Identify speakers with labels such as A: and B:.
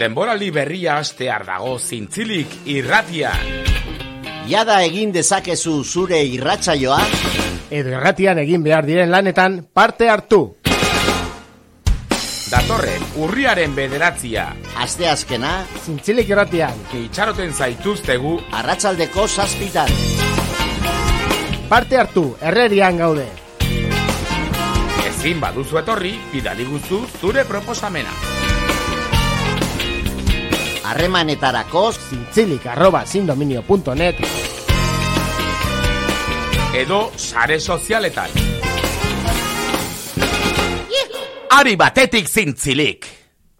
A: Denboraldi berria astear dago zintzilik irratian.
B: Jada egin dezakezu zure irratsaioa
C: edo erratian egin behar diren lanetan parte hartu.
A: Datorren urriaren bederatzia,
B: asteazkena
C: Zintzilik irratian,
A: itxaroten zaituztegu
B: arratsaldeko zazpitan.
C: parte hartu, errerian gaude.
A: ezin baduzu etorri, bidali guzu zure proposamena.
B: Harremanetarako
C: Zintzilik arroba sindominio.net
A: Edo sare sozialetan. Ari batetik zintzilik!